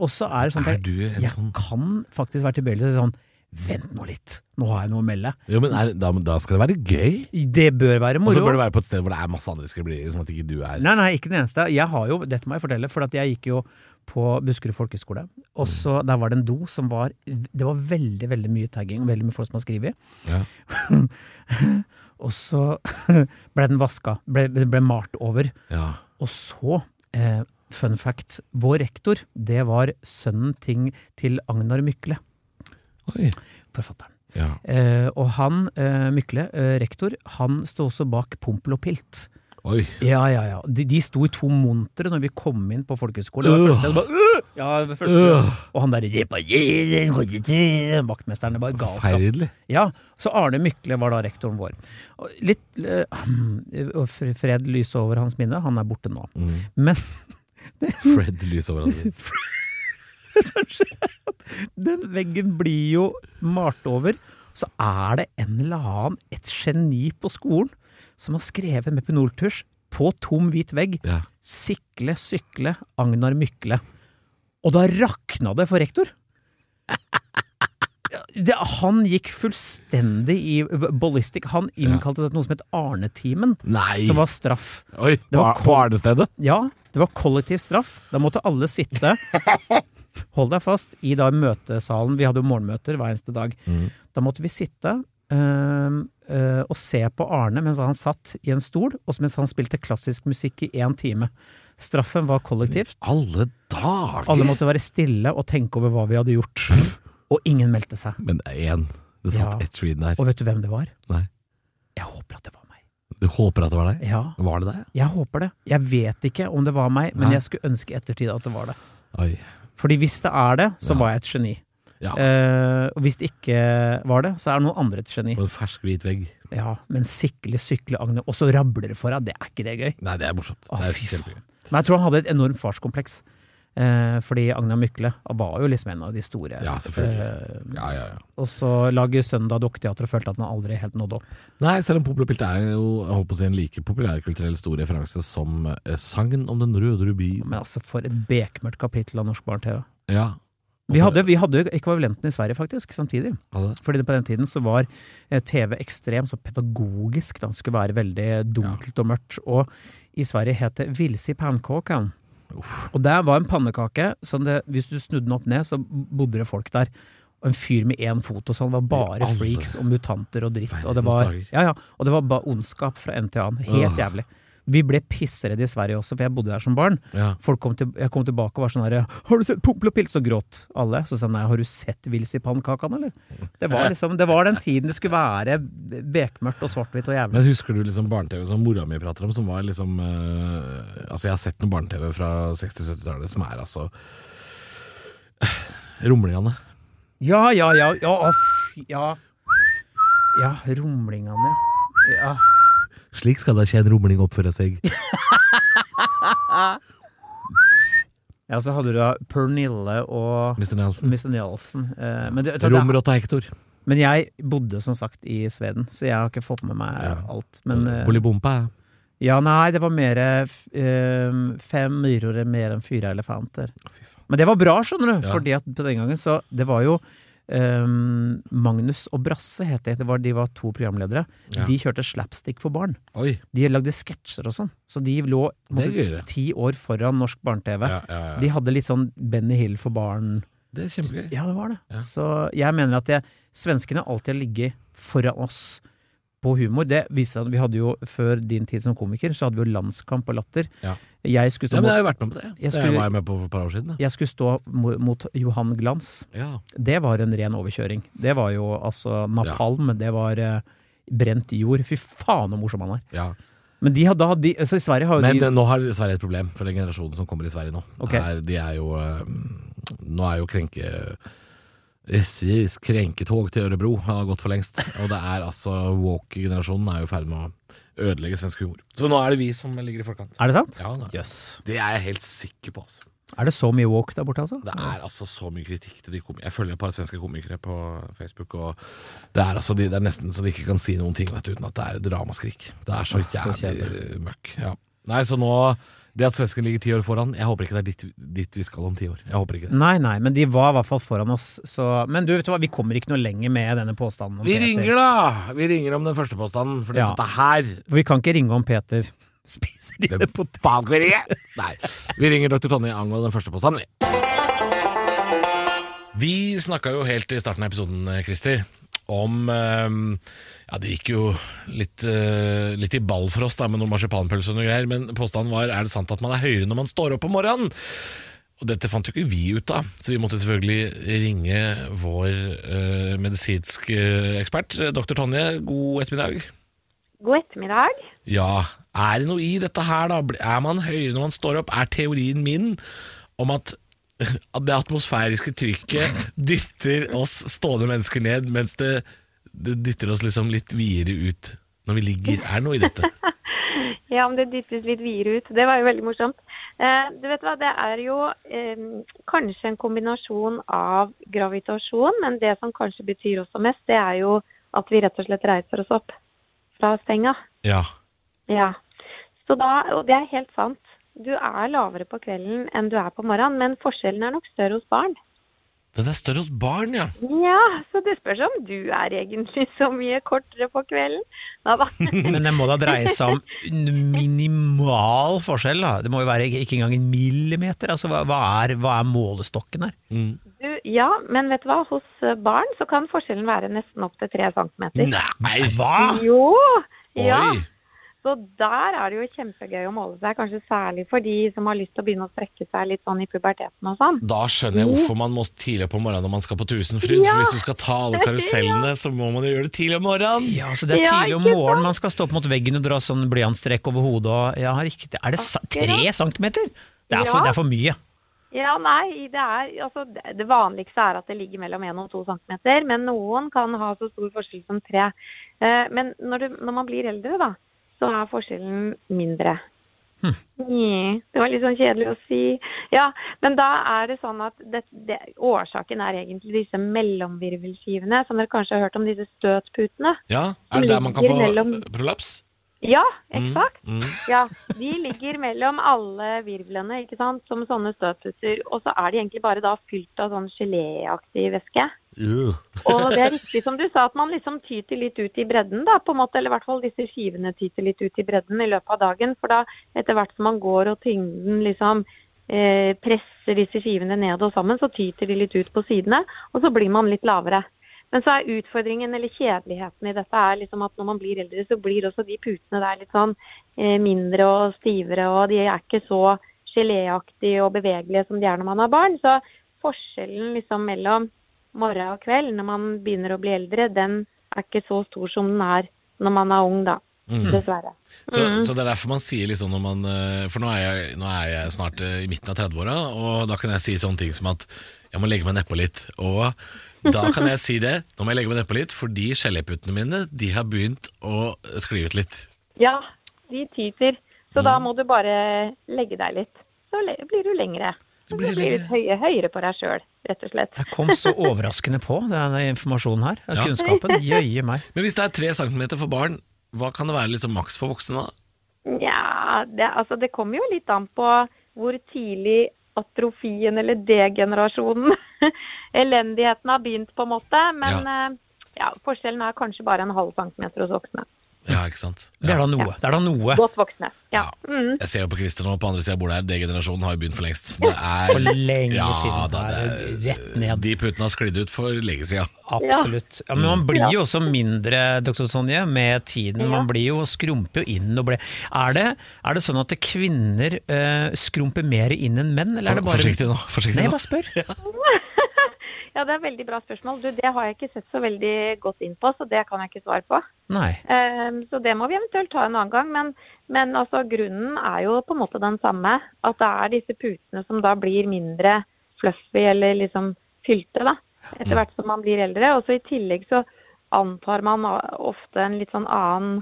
[SPEAKER 3] Og så er det sånn
[SPEAKER 2] Er
[SPEAKER 3] at
[SPEAKER 2] du
[SPEAKER 3] jeg,
[SPEAKER 2] en
[SPEAKER 3] jeg
[SPEAKER 2] sånn
[SPEAKER 3] kan faktisk være tilbøyelig til å si sånn Vent nå litt, nå har jeg noe å melde.
[SPEAKER 2] Jo, men er, da, da skal det være gøy.
[SPEAKER 3] Det bør være
[SPEAKER 2] Og så
[SPEAKER 3] moro.
[SPEAKER 2] bør det være på et sted hvor det er masse andre skriblerier, sånn at ikke du er
[SPEAKER 3] Nei, nei, ikke den eneste. Jeg har jo, dette må jeg fortelle, for at jeg gikk jo på Buskerud folkehøgskole. Og så der var det en do som var Det var veldig, veldig mye tagging, og veldig mye folk som har skrevet.
[SPEAKER 2] ja.
[SPEAKER 3] Og så ble den vaska. Ble, ble malt over.
[SPEAKER 2] Ja.
[SPEAKER 3] Og så, eh, fun fact, vår rektor, det var sønnen ting til Agnar Mykle,
[SPEAKER 2] Oi.
[SPEAKER 3] forfatteren.
[SPEAKER 2] Ja.
[SPEAKER 3] Eh, og han, eh, Mykle, eh, rektor, han sto også bak Pompel og Pilt.
[SPEAKER 2] Oi.
[SPEAKER 3] Ja, ja, ja. De, de sto i to montre når vi kom inn på folkehøyskole. Det var første- det var bare, «Øh!» Ja, det var første-
[SPEAKER 2] Øh.
[SPEAKER 3] Og han derre Vaktmesteren det bare ga oss da.
[SPEAKER 2] Forferdelig.
[SPEAKER 3] Ja, så Arne Mykle var da rektoren vår. Og litt eh, og fr- fred lyse over hans minne, han er borte nå.
[SPEAKER 2] Mm.
[SPEAKER 3] Men
[SPEAKER 2] Fred lys over alle.
[SPEAKER 3] det som skjer, er at den veggen blir jo malt over. Så er det en eller annen, et geni på skolen, som har skrevet med penoltusj på tom hvit vegg
[SPEAKER 2] Ja.
[SPEAKER 3] Sikle, sykle, Agnar Mykle. Og da rakna det for rektor! Det, han gikk fullstendig i ballistikk. Han innkalte det til noe som het Arnetimen,
[SPEAKER 2] Nei!
[SPEAKER 3] som var straff.
[SPEAKER 2] Oi,
[SPEAKER 3] det var
[SPEAKER 2] på- på Arnestedet?
[SPEAKER 3] Ja, det var kollektiv straff. Da måtte alle sitte Hold deg fast i da møtesalen. Vi hadde jo morgenmøter hver eneste dag.
[SPEAKER 2] Mm.
[SPEAKER 3] Da måtte vi sitte øhm, øh, og se på Arne mens han satt i en stol, og mens han spilte klassisk musikk i én time. Straffen var kollektivt.
[SPEAKER 2] Alle dager!
[SPEAKER 3] Alle måtte være stille og tenke over hva vi hadde gjort. Og ingen meldte seg.
[SPEAKER 2] Men én. Det satt
[SPEAKER 3] Ja.
[SPEAKER 2] ett treen der.
[SPEAKER 3] Og vet du hvem det var?
[SPEAKER 2] Nei.
[SPEAKER 3] Jeg håper at det var meg.
[SPEAKER 2] Du håper at det var deg?
[SPEAKER 3] Ja,
[SPEAKER 2] Var det deg?
[SPEAKER 3] jeg håper det. Jeg vet ikke om det var meg, men
[SPEAKER 2] Nei.
[SPEAKER 3] jeg skulle ønske i ettertid at det var det.
[SPEAKER 2] Oi.
[SPEAKER 3] Fordi hvis det er det, så
[SPEAKER 2] Ja.
[SPEAKER 3] var jeg et geni.
[SPEAKER 2] Ja.
[SPEAKER 3] Eh, og hvis det ikke var det, så er noen andre et geni.
[SPEAKER 2] På en fersk hvit vegg.
[SPEAKER 3] Ja, men sikle, sykle, Agne, og så rabler det for deg, det er ikke det gøy?
[SPEAKER 2] Nei, det er morsomt.
[SPEAKER 3] Å,
[SPEAKER 2] det er
[SPEAKER 3] fy
[SPEAKER 2] kjempegøy.
[SPEAKER 3] faen. Men jeg tror han hadde et enormt farskompleks. Eh, fordi Agnar Mykle var jo liksom en av de store.
[SPEAKER 2] Ja, selvfølgelig.
[SPEAKER 3] Eh,
[SPEAKER 2] Ja, ja, ja.
[SPEAKER 3] og så lager Søndag Dokketeater og følte at han aldri helt nådde opp.
[SPEAKER 2] Nei, selv om Popel og Pilt er jo jeg holdt på å si, en like populærkulturell stor referanse som eh, sangen om den røde rubin.
[SPEAKER 3] Men altså, for et bekmørkt kapittel av norsk barne-TV.
[SPEAKER 2] Ja.
[SPEAKER 3] Vi hadde, vi hadde jo ekvivalenten i Sverige, faktisk, samtidig.
[SPEAKER 2] Hadde det?
[SPEAKER 3] Fordi det på den tiden så var eh, TV ekstremt så pedagogisk. Da. Det skulle være veldig dunkelt og mørkt. Og i Sverige het det Vilse i pannkakan.
[SPEAKER 2] Uff.
[SPEAKER 3] Og der var en pannekake som det, hvis du snudde den opp ned, så bodde det folk der. Og en fyr med én fot og sånn. Det var bare
[SPEAKER 2] alle
[SPEAKER 3] freaks og mutanter og dritt. Og det
[SPEAKER 2] verdens
[SPEAKER 3] var,
[SPEAKER 2] dager.
[SPEAKER 3] ja, ja, og det var bare ondskap fra en til annen. Helt
[SPEAKER 2] Åh.
[SPEAKER 3] jævlig. Vi ble pissredde i Sverige også, for jeg bodde der som barn.
[SPEAKER 2] Ja.
[SPEAKER 3] Folk kom til, jeg kom tilbake og var sånn her 'Har du sett Pompel og Pilt?' Så gråt alle. Så sa jeg nei, 'Har du sett Vils i pannkakan', eller? Det var liksom, det var den tiden det skulle være bekmørkt og svart-hvitt og jævlig.
[SPEAKER 2] Men husker du liksom barne-TV som mora mi prater om, som var liksom eh, Altså, jeg har sett noe barne-TV fra 60-70-tallet som er altså eh, Rumlingene.
[SPEAKER 3] Ja, ja, ja. Ja, å, fy, ja. ja rumlingene. Ja.
[SPEAKER 2] Slik skal da ikke en rumling oppføre seg.
[SPEAKER 3] ja, så hadde du da Pernille og
[SPEAKER 2] Mr. Nelson.
[SPEAKER 3] Mr. Nielsen. Eh, Men, det,
[SPEAKER 2] Romrotta Hector.
[SPEAKER 3] men jeg bodde som sagt i Sveden, så jeg har ikke fått med meg
[SPEAKER 2] Ja.
[SPEAKER 3] alt. Men eh,
[SPEAKER 2] Bolibompa.
[SPEAKER 3] Ja, nei, det var mer fem myrer er mer enn fire elefanter.
[SPEAKER 2] fy faen.
[SPEAKER 3] Men det var bra, skjønner du.
[SPEAKER 2] Ja.
[SPEAKER 3] Fordi at på den gangen så Det var jo ehm, Magnus og Brasse, het det. det var, de var to programledere.
[SPEAKER 2] Ja.
[SPEAKER 3] De kjørte slapstick for barn.
[SPEAKER 2] Oi.
[SPEAKER 3] De lagde sketsjer og sånn. Så de lå på en
[SPEAKER 2] Det er
[SPEAKER 3] måte,
[SPEAKER 2] gøyere.
[SPEAKER 3] ti år foran norsk barne-TV.
[SPEAKER 2] Ja, ja, ja.
[SPEAKER 3] De hadde litt sånn Benny Hill for barn.
[SPEAKER 2] Det er kjempegøy.
[SPEAKER 3] Ja, det var det.
[SPEAKER 2] Ja.
[SPEAKER 3] Så jeg mener at det, svenskene alltid har ligget foran oss på humor. Det viser at vi hadde jo Før din tid som komiker, så hadde vi jo Landskamp og Latter.
[SPEAKER 2] Ja.
[SPEAKER 3] Jeg skulle
[SPEAKER 2] Ja,
[SPEAKER 3] stå,
[SPEAKER 2] men jeg
[SPEAKER 3] mot,
[SPEAKER 2] har jo vært med på det.
[SPEAKER 3] Jeg
[SPEAKER 2] Det
[SPEAKER 3] skulle-
[SPEAKER 2] var jeg med på for et par år siden. da.
[SPEAKER 3] jeg skulle stå mo- mot Johan Glans.
[SPEAKER 2] Ja.
[SPEAKER 3] Det var en ren overkjøring. Det var jo altså napalm, det var eh, brent jord. Fy faen så morsom han er.
[SPEAKER 2] ja.
[SPEAKER 3] Men de, hadde- da hadde de altså I Sverige har jo
[SPEAKER 2] Men
[SPEAKER 3] de
[SPEAKER 2] eh, nå har Sverige et problem, for den generasjonen som kommer i Sverige nå.
[SPEAKER 3] Ok.
[SPEAKER 2] Er, de er jo eh, Nå er jo krenke... SJs krenketog til Ørebro har gått for lengst. Og det er altså Walker-generasjonen er jo i ferd med å ødelegge svensk humor. Så nå er det vi som ligger i forkant.
[SPEAKER 3] Er det sant?
[SPEAKER 2] Ja, da.
[SPEAKER 3] Jøss.
[SPEAKER 2] Det er jeg helt sikker på. Altså.
[SPEAKER 3] Er det så mye walk der borte, altså?
[SPEAKER 2] Det er altså så mye kritikk til de komikere. Jeg følger et par svenske komikere på Facebook, og det er, altså de, det er nesten så de ikke kan si noen ting vet, du, uten at det er et ramaskrik. Det er så
[SPEAKER 3] Åh, så
[SPEAKER 2] jævlig møkk. Ja. Nei, så nå Det at svensken ligger ti år foran, jeg håper ikke det er dit, dit vi skal om ti år. Jeg håper ikke det.
[SPEAKER 3] Nei, nei, men de var i hvert fall foran oss, så Men du, vet du hva, vi kommer ikke noe lenger med denne påstanden om
[SPEAKER 2] Vi
[SPEAKER 3] Peter.
[SPEAKER 2] ringer, da! Vi ringer om den første påstanden, for
[SPEAKER 3] Ja.
[SPEAKER 2] dette her
[SPEAKER 3] For vi kan ikke ringe om Peter spiser dine
[SPEAKER 2] Hvem faen skal vi ringe? Nei. Vi ringer dr. Tonje angående den første påstanden, vi. Vi snakka jo helt i starten av episoden, Christer, om eh, Ja, det gikk jo litt, eh, litt i ball for oss da med noen marsipanpølser og noe greier, men påstanden var er det sant at man er høyere når man står opp om morgenen? Og dette fant jo ikke vi ut av, så vi måtte selvfølgelig ringe vår eh, medisinske ekspert, dr. Tonje. God ettermiddag.
[SPEAKER 1] God ettermiddag.
[SPEAKER 2] Ja, er det noe i dette her da? Er man høyere når man står opp? Er teorien min om at at det atmosfæriske trykket dytter oss stående mennesker ned, mens det, det dytter oss liksom litt videre ut når vi ligger? Er det noe i dette?
[SPEAKER 1] Ja, om det dyttes litt videre ut. Det var jo veldig morsomt. Eh, du vet hva, det er jo eh, kanskje en kombinasjon av gravitasjon, men det som kanskje betyr også mest, det er jo at vi rett og slett reiser oss opp fra senga.
[SPEAKER 2] Ja.
[SPEAKER 1] Ja. Så da, og det er helt sant. Du er lavere på kvelden enn du er på morgenen, men forskjellen er nok større hos barn.
[SPEAKER 2] Den er større hos barn, ja.
[SPEAKER 1] Ja, så det spørs om du er egentlig så mye kortere på kvelden. Nei da.
[SPEAKER 3] Men det må da dreie seg om en minimal forskjell, da. Det må jo være ikke engang en millimeter. Altså, hva, hva, er, hva er målestokken her?
[SPEAKER 2] Mm.
[SPEAKER 1] Du, ja, men vet du hva? Hos eh, barn så kan forskjellen være nesten opptil 3 cm.
[SPEAKER 2] Nei,
[SPEAKER 3] Hva?!
[SPEAKER 1] Jo! Ja,
[SPEAKER 2] Oi!
[SPEAKER 1] så der er det jo kjempegøy å måle seg. Kanskje særlig for de som har lyst til å begynne å strekke seg litt sånn i puberteten og sånn.
[SPEAKER 2] Da skjønner jeg hvorfor man må tidlig opp om morgenen når man skal på Tusenfryd. For hvis du skal ta alle karusellene, så må man jo gjøre det tidlig om morgenen.
[SPEAKER 3] Ja, så det er
[SPEAKER 1] Ja,
[SPEAKER 3] tidlig om
[SPEAKER 1] ikke
[SPEAKER 3] morgenen man skal stå opp mot veggen og dra sånn blyantstrek over hodet og Ja, riktig. Er det sa- tre centimeter?! Det er for,
[SPEAKER 1] Ja.
[SPEAKER 3] det er for mye.
[SPEAKER 1] Ja, nei, det er altså det- Det vanligste er at det ligger mellom 1 og 2 cm, men noen kan ha så stor forskjell som 3. Eh, Men når, du, når man blir eldre, da, så er forskjellen mindre. Nja, Det var litt sånn kjedelig å si. Ja, men da er det sånn at det, det, årsaken er egentlig disse mellomvirvelskivene, som dere kanskje har hørt om, disse støtputene.
[SPEAKER 2] Ja, Er det der man kan
[SPEAKER 1] Ligger
[SPEAKER 2] få
[SPEAKER 1] mellom-
[SPEAKER 2] prolaps?
[SPEAKER 1] Ja, eksakt.
[SPEAKER 2] Mm.
[SPEAKER 1] Ja, de ligger mellom alle virvlene, ikke sant, som sånne støtputer. Og så er de egentlig bare da fylt av sånn geléaktig væske.
[SPEAKER 2] Ugh.
[SPEAKER 1] Og det er riktig som du sa, at man liksom tyter litt ut i bredden, da, på en måte. Eller i hvert fall disse skivene tyter litt ut i bredden i løpet av dagen. For da, etter hvert som man går og tyngden liksom eh, presser disse skivene ned og sammen, så tyter de litt ut på sidene, og så blir man litt lavere. Men så er utfordringen, eller kjedeligheten i dette, er liksom at når man blir eldre, så blir også de putene der litt sånn eh, mindre og stivere, og de er ikke så geléaktige og bevegelige som de er når man har barn. Så forskjellen liksom mellom morgen og kveld når man begynner å bli eldre, den er ikke så stor som den er når man er ung, da.
[SPEAKER 2] Mhm.
[SPEAKER 1] Dessverre.
[SPEAKER 2] Så, så det er derfor man sier liksom når man eh, For nå er jeg, nå er jeg snart eh, i midten av 30-åra, og da kan jeg si sånne ting som at jeg må legge meg nedpå litt. Og da kan jeg si det, nå må jeg legge meg nedpå litt, fordi geléputene mine de har begynt å skli ut litt.
[SPEAKER 1] Ja, de tyter. Så
[SPEAKER 2] Mhm.
[SPEAKER 1] da må du bare legge deg litt. Så le blir du lengre.
[SPEAKER 2] Du
[SPEAKER 1] Så
[SPEAKER 2] blir
[SPEAKER 1] blir du litt høye, høyere på deg sjøl, rett og slett.
[SPEAKER 3] Jeg kom så overraskende på denne informasjonen her.
[SPEAKER 2] Ja.
[SPEAKER 3] Kunnskapen. Jøye meg.
[SPEAKER 2] Men hvis det er tre centimeter for barn, hva kan det være liksom maks for voksne da?
[SPEAKER 1] Nja, det, altså, det kommer jo litt an på hvor tidlig atrofien eller degenerasjonen, elendigheten, har begynt, på en måte. Men eh, ja, forskjellen er kanskje bare en halv centimeter hos voksne.
[SPEAKER 2] Ja, ikke sant?
[SPEAKER 3] Det er
[SPEAKER 2] Ja.
[SPEAKER 3] da noe. Det er da noe.
[SPEAKER 1] Godt voksne. Ja.
[SPEAKER 2] Ja.
[SPEAKER 1] Mm.
[SPEAKER 2] Jeg ser jo på Christer nå, på andre sida av bordet her, D-generasjonen har jo begynt for lengst. Det
[SPEAKER 3] For
[SPEAKER 2] er
[SPEAKER 3] lenge
[SPEAKER 2] Ja,
[SPEAKER 3] siden.
[SPEAKER 2] da,
[SPEAKER 3] Det er
[SPEAKER 2] det
[SPEAKER 3] rett ned.
[SPEAKER 2] De putene har sklidd ut for lenge sida.
[SPEAKER 3] Absolutt. Ja, men man blir jo også mindre, doktor Tonje, med tiden. Man blir jo skrumper jo inn og ble Er det, er det sånn at kvinner eh, skrumper mer inn enn menn, eller er det bare
[SPEAKER 2] Forsiktig nå. Forsiktig
[SPEAKER 3] Nei,
[SPEAKER 2] nå.
[SPEAKER 3] bare spør.
[SPEAKER 1] Ja, det er veldig bra spørsmål. Du, det har jeg ikke sett så veldig godt inn på, så det kan jeg ikke svare på.
[SPEAKER 3] Nei.
[SPEAKER 1] Ehm, Så det må vi eventuelt ta en annen gang. Men, men altså, grunnen er jo på en måte den samme. At det er disse putene som da blir mindre fluffy eller liksom fylte, da. Etter hvert som man blir eldre. Og så i tillegg så antar man a- ofte en litt sånn annen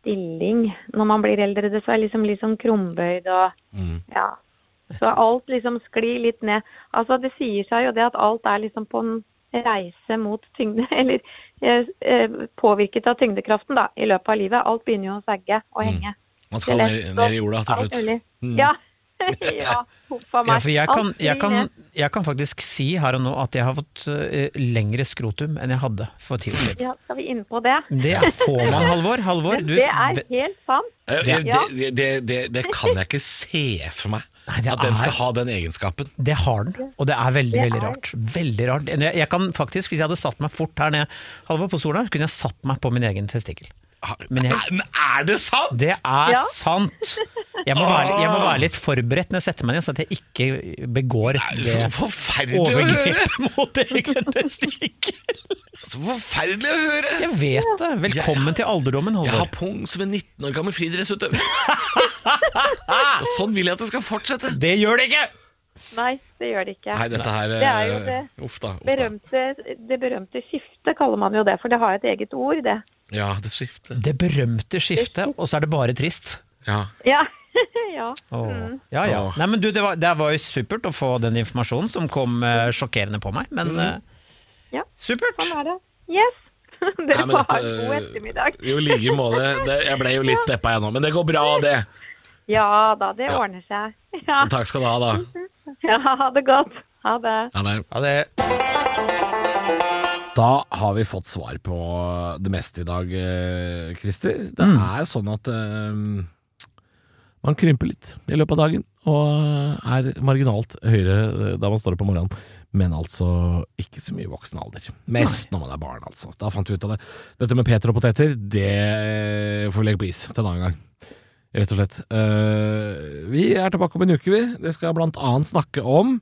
[SPEAKER 1] stilling når man blir eldre. Det er liksom, liksom krumbøyd og
[SPEAKER 2] Mm.
[SPEAKER 1] ja. Så alt liksom sklir litt ned. Altså det sier seg jo det at alt er liksom på en reise mot tyngde, eller eh, eh, påvirket av tyngdekraften da, i løpet av livet. Alt begynner jo å sagge og henge.
[SPEAKER 2] Man skal
[SPEAKER 3] Mm.
[SPEAKER 1] Det er
[SPEAKER 2] ned,
[SPEAKER 1] lett
[SPEAKER 2] ned i
[SPEAKER 1] å-
[SPEAKER 2] jorda til
[SPEAKER 1] alt
[SPEAKER 2] slutt.
[SPEAKER 1] mulig. Ja. ja, huff a meg.
[SPEAKER 3] Ja, for jeg kan,
[SPEAKER 1] Alt
[SPEAKER 3] jeg,
[SPEAKER 1] blir
[SPEAKER 3] kan,
[SPEAKER 1] ned.
[SPEAKER 3] jeg kan faktisk si her og nå at jeg har fått eh, lengre skrotum enn jeg hadde for ti år siden.
[SPEAKER 1] Ja, skal vi inn på det?
[SPEAKER 3] Det er- får man, Halvor. Halvor,
[SPEAKER 1] Men
[SPEAKER 3] Mm. du
[SPEAKER 1] det er helt sant.
[SPEAKER 2] Eh,
[SPEAKER 1] Ja.
[SPEAKER 2] Det, det, det, det, det kan jeg ikke se for meg.
[SPEAKER 3] Nei, det
[SPEAKER 2] At den
[SPEAKER 3] er-
[SPEAKER 2] skal ha den egenskapen.
[SPEAKER 3] Det har den, og det er veldig,
[SPEAKER 1] Det
[SPEAKER 3] veldig
[SPEAKER 1] er-
[SPEAKER 3] rart. Veldig rart. Jeg, jeg kan faktisk, Hvis jeg hadde satt meg fort her nede, Halvor, på stolen her, så kunne jeg satt meg på min egen testikkel.
[SPEAKER 2] Ha-
[SPEAKER 3] Men jeg-
[SPEAKER 2] er, er det sant?!
[SPEAKER 3] Det er
[SPEAKER 1] Ja.
[SPEAKER 3] sant! Jeg må, være, jeg må være litt forberedt når jeg setter meg ned, så at jeg ikke begår det
[SPEAKER 2] Så forferdelig å høre!
[SPEAKER 3] overgrepet mot egen testikkel.
[SPEAKER 2] Så forferdelig å høre!
[SPEAKER 3] Jeg vet det! Velkommen til alderdommen,
[SPEAKER 2] Jeg har
[SPEAKER 3] Halvor.
[SPEAKER 2] pung som en 19 år gammel friidrettsutøver. Og sånn vil jeg at det skal fortsette.
[SPEAKER 3] Det gjør det ikke!
[SPEAKER 1] Nei, det gjør det ikke.
[SPEAKER 2] Nei, dette her
[SPEAKER 1] Det er jo
[SPEAKER 2] eh,
[SPEAKER 1] det
[SPEAKER 2] Uff da. Uff da.
[SPEAKER 1] berømte, det berømte skiftet, kaller man jo det. For det har et eget ord, det.
[SPEAKER 2] Ja, det skifter.
[SPEAKER 3] Det berømte skiftet, og så er det bare trist.
[SPEAKER 2] Ja.
[SPEAKER 1] Ja. ja.
[SPEAKER 3] Åh. Ja, ja.
[SPEAKER 2] Åh.
[SPEAKER 3] Nei, men du, det var, det var jo supert å få den informasjonen som kom eh, sjokkerende på meg, men
[SPEAKER 4] Mm.
[SPEAKER 3] eh,
[SPEAKER 1] Ja.
[SPEAKER 3] supert!
[SPEAKER 1] Sånn er det. Yes. Dere
[SPEAKER 2] Nei, men
[SPEAKER 1] får ha en
[SPEAKER 2] dette-
[SPEAKER 1] god ettermiddag.
[SPEAKER 2] Jo, i like måte. Det- Jeg ble jo litt deppa jeg nå, men det går bra, det.
[SPEAKER 1] Ja da, det
[SPEAKER 2] Ja.
[SPEAKER 1] ordner seg. Ja.
[SPEAKER 2] Takk skal du ha, da.
[SPEAKER 1] ja, ha det godt. Ha det.
[SPEAKER 2] Ja, det-
[SPEAKER 3] Ja, det,
[SPEAKER 2] Da har vi fått svar på det meste i dag, eh, Christer. Det er sånn at eh, man krymper litt i løpet av dagen, og er marginalt høyere eh, da man står opp om morgenen. Men altså ikke så mye i voksen alder. Mest når man er barn, altså. Da fant vi ut av det. Dette med Peter og poteter, det får vi legge på is til en annen gang. Rett og slett. Eh, vi er tilbake om en uke, vi. Det skal blant annet snakke om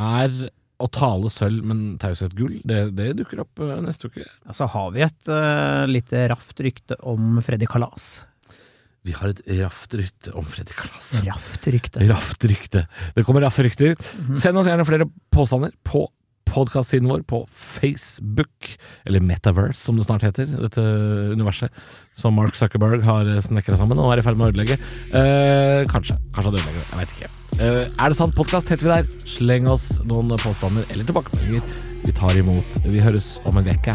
[SPEAKER 2] er å tale sølv, men taushet gull. Det, det dukker opp eh, neste uke.
[SPEAKER 4] Og så altså, har vi et eh, lite raft rykte om Freddy Kalas.
[SPEAKER 2] Vi har et raft rykte om Freddy Kalas.
[SPEAKER 4] Raft rykte.
[SPEAKER 2] Raft rykte. Det kommer raffe rykter. Send oss gjerne flere påstander på podkast-siden vår på Facebook, eller Metaverse som det snart heter, dette universet som Mark Zuckerberg har snekra sammen og er i ferd med å ødelegge. Eh, kanskje. Kanskje han ødelegger det. Jeg veit ikke. Eh, er det sant podkast heter vi der? Sleng oss noen påstander eller tilbakemeldinger. Vi tar imot. Vi høres om en uke.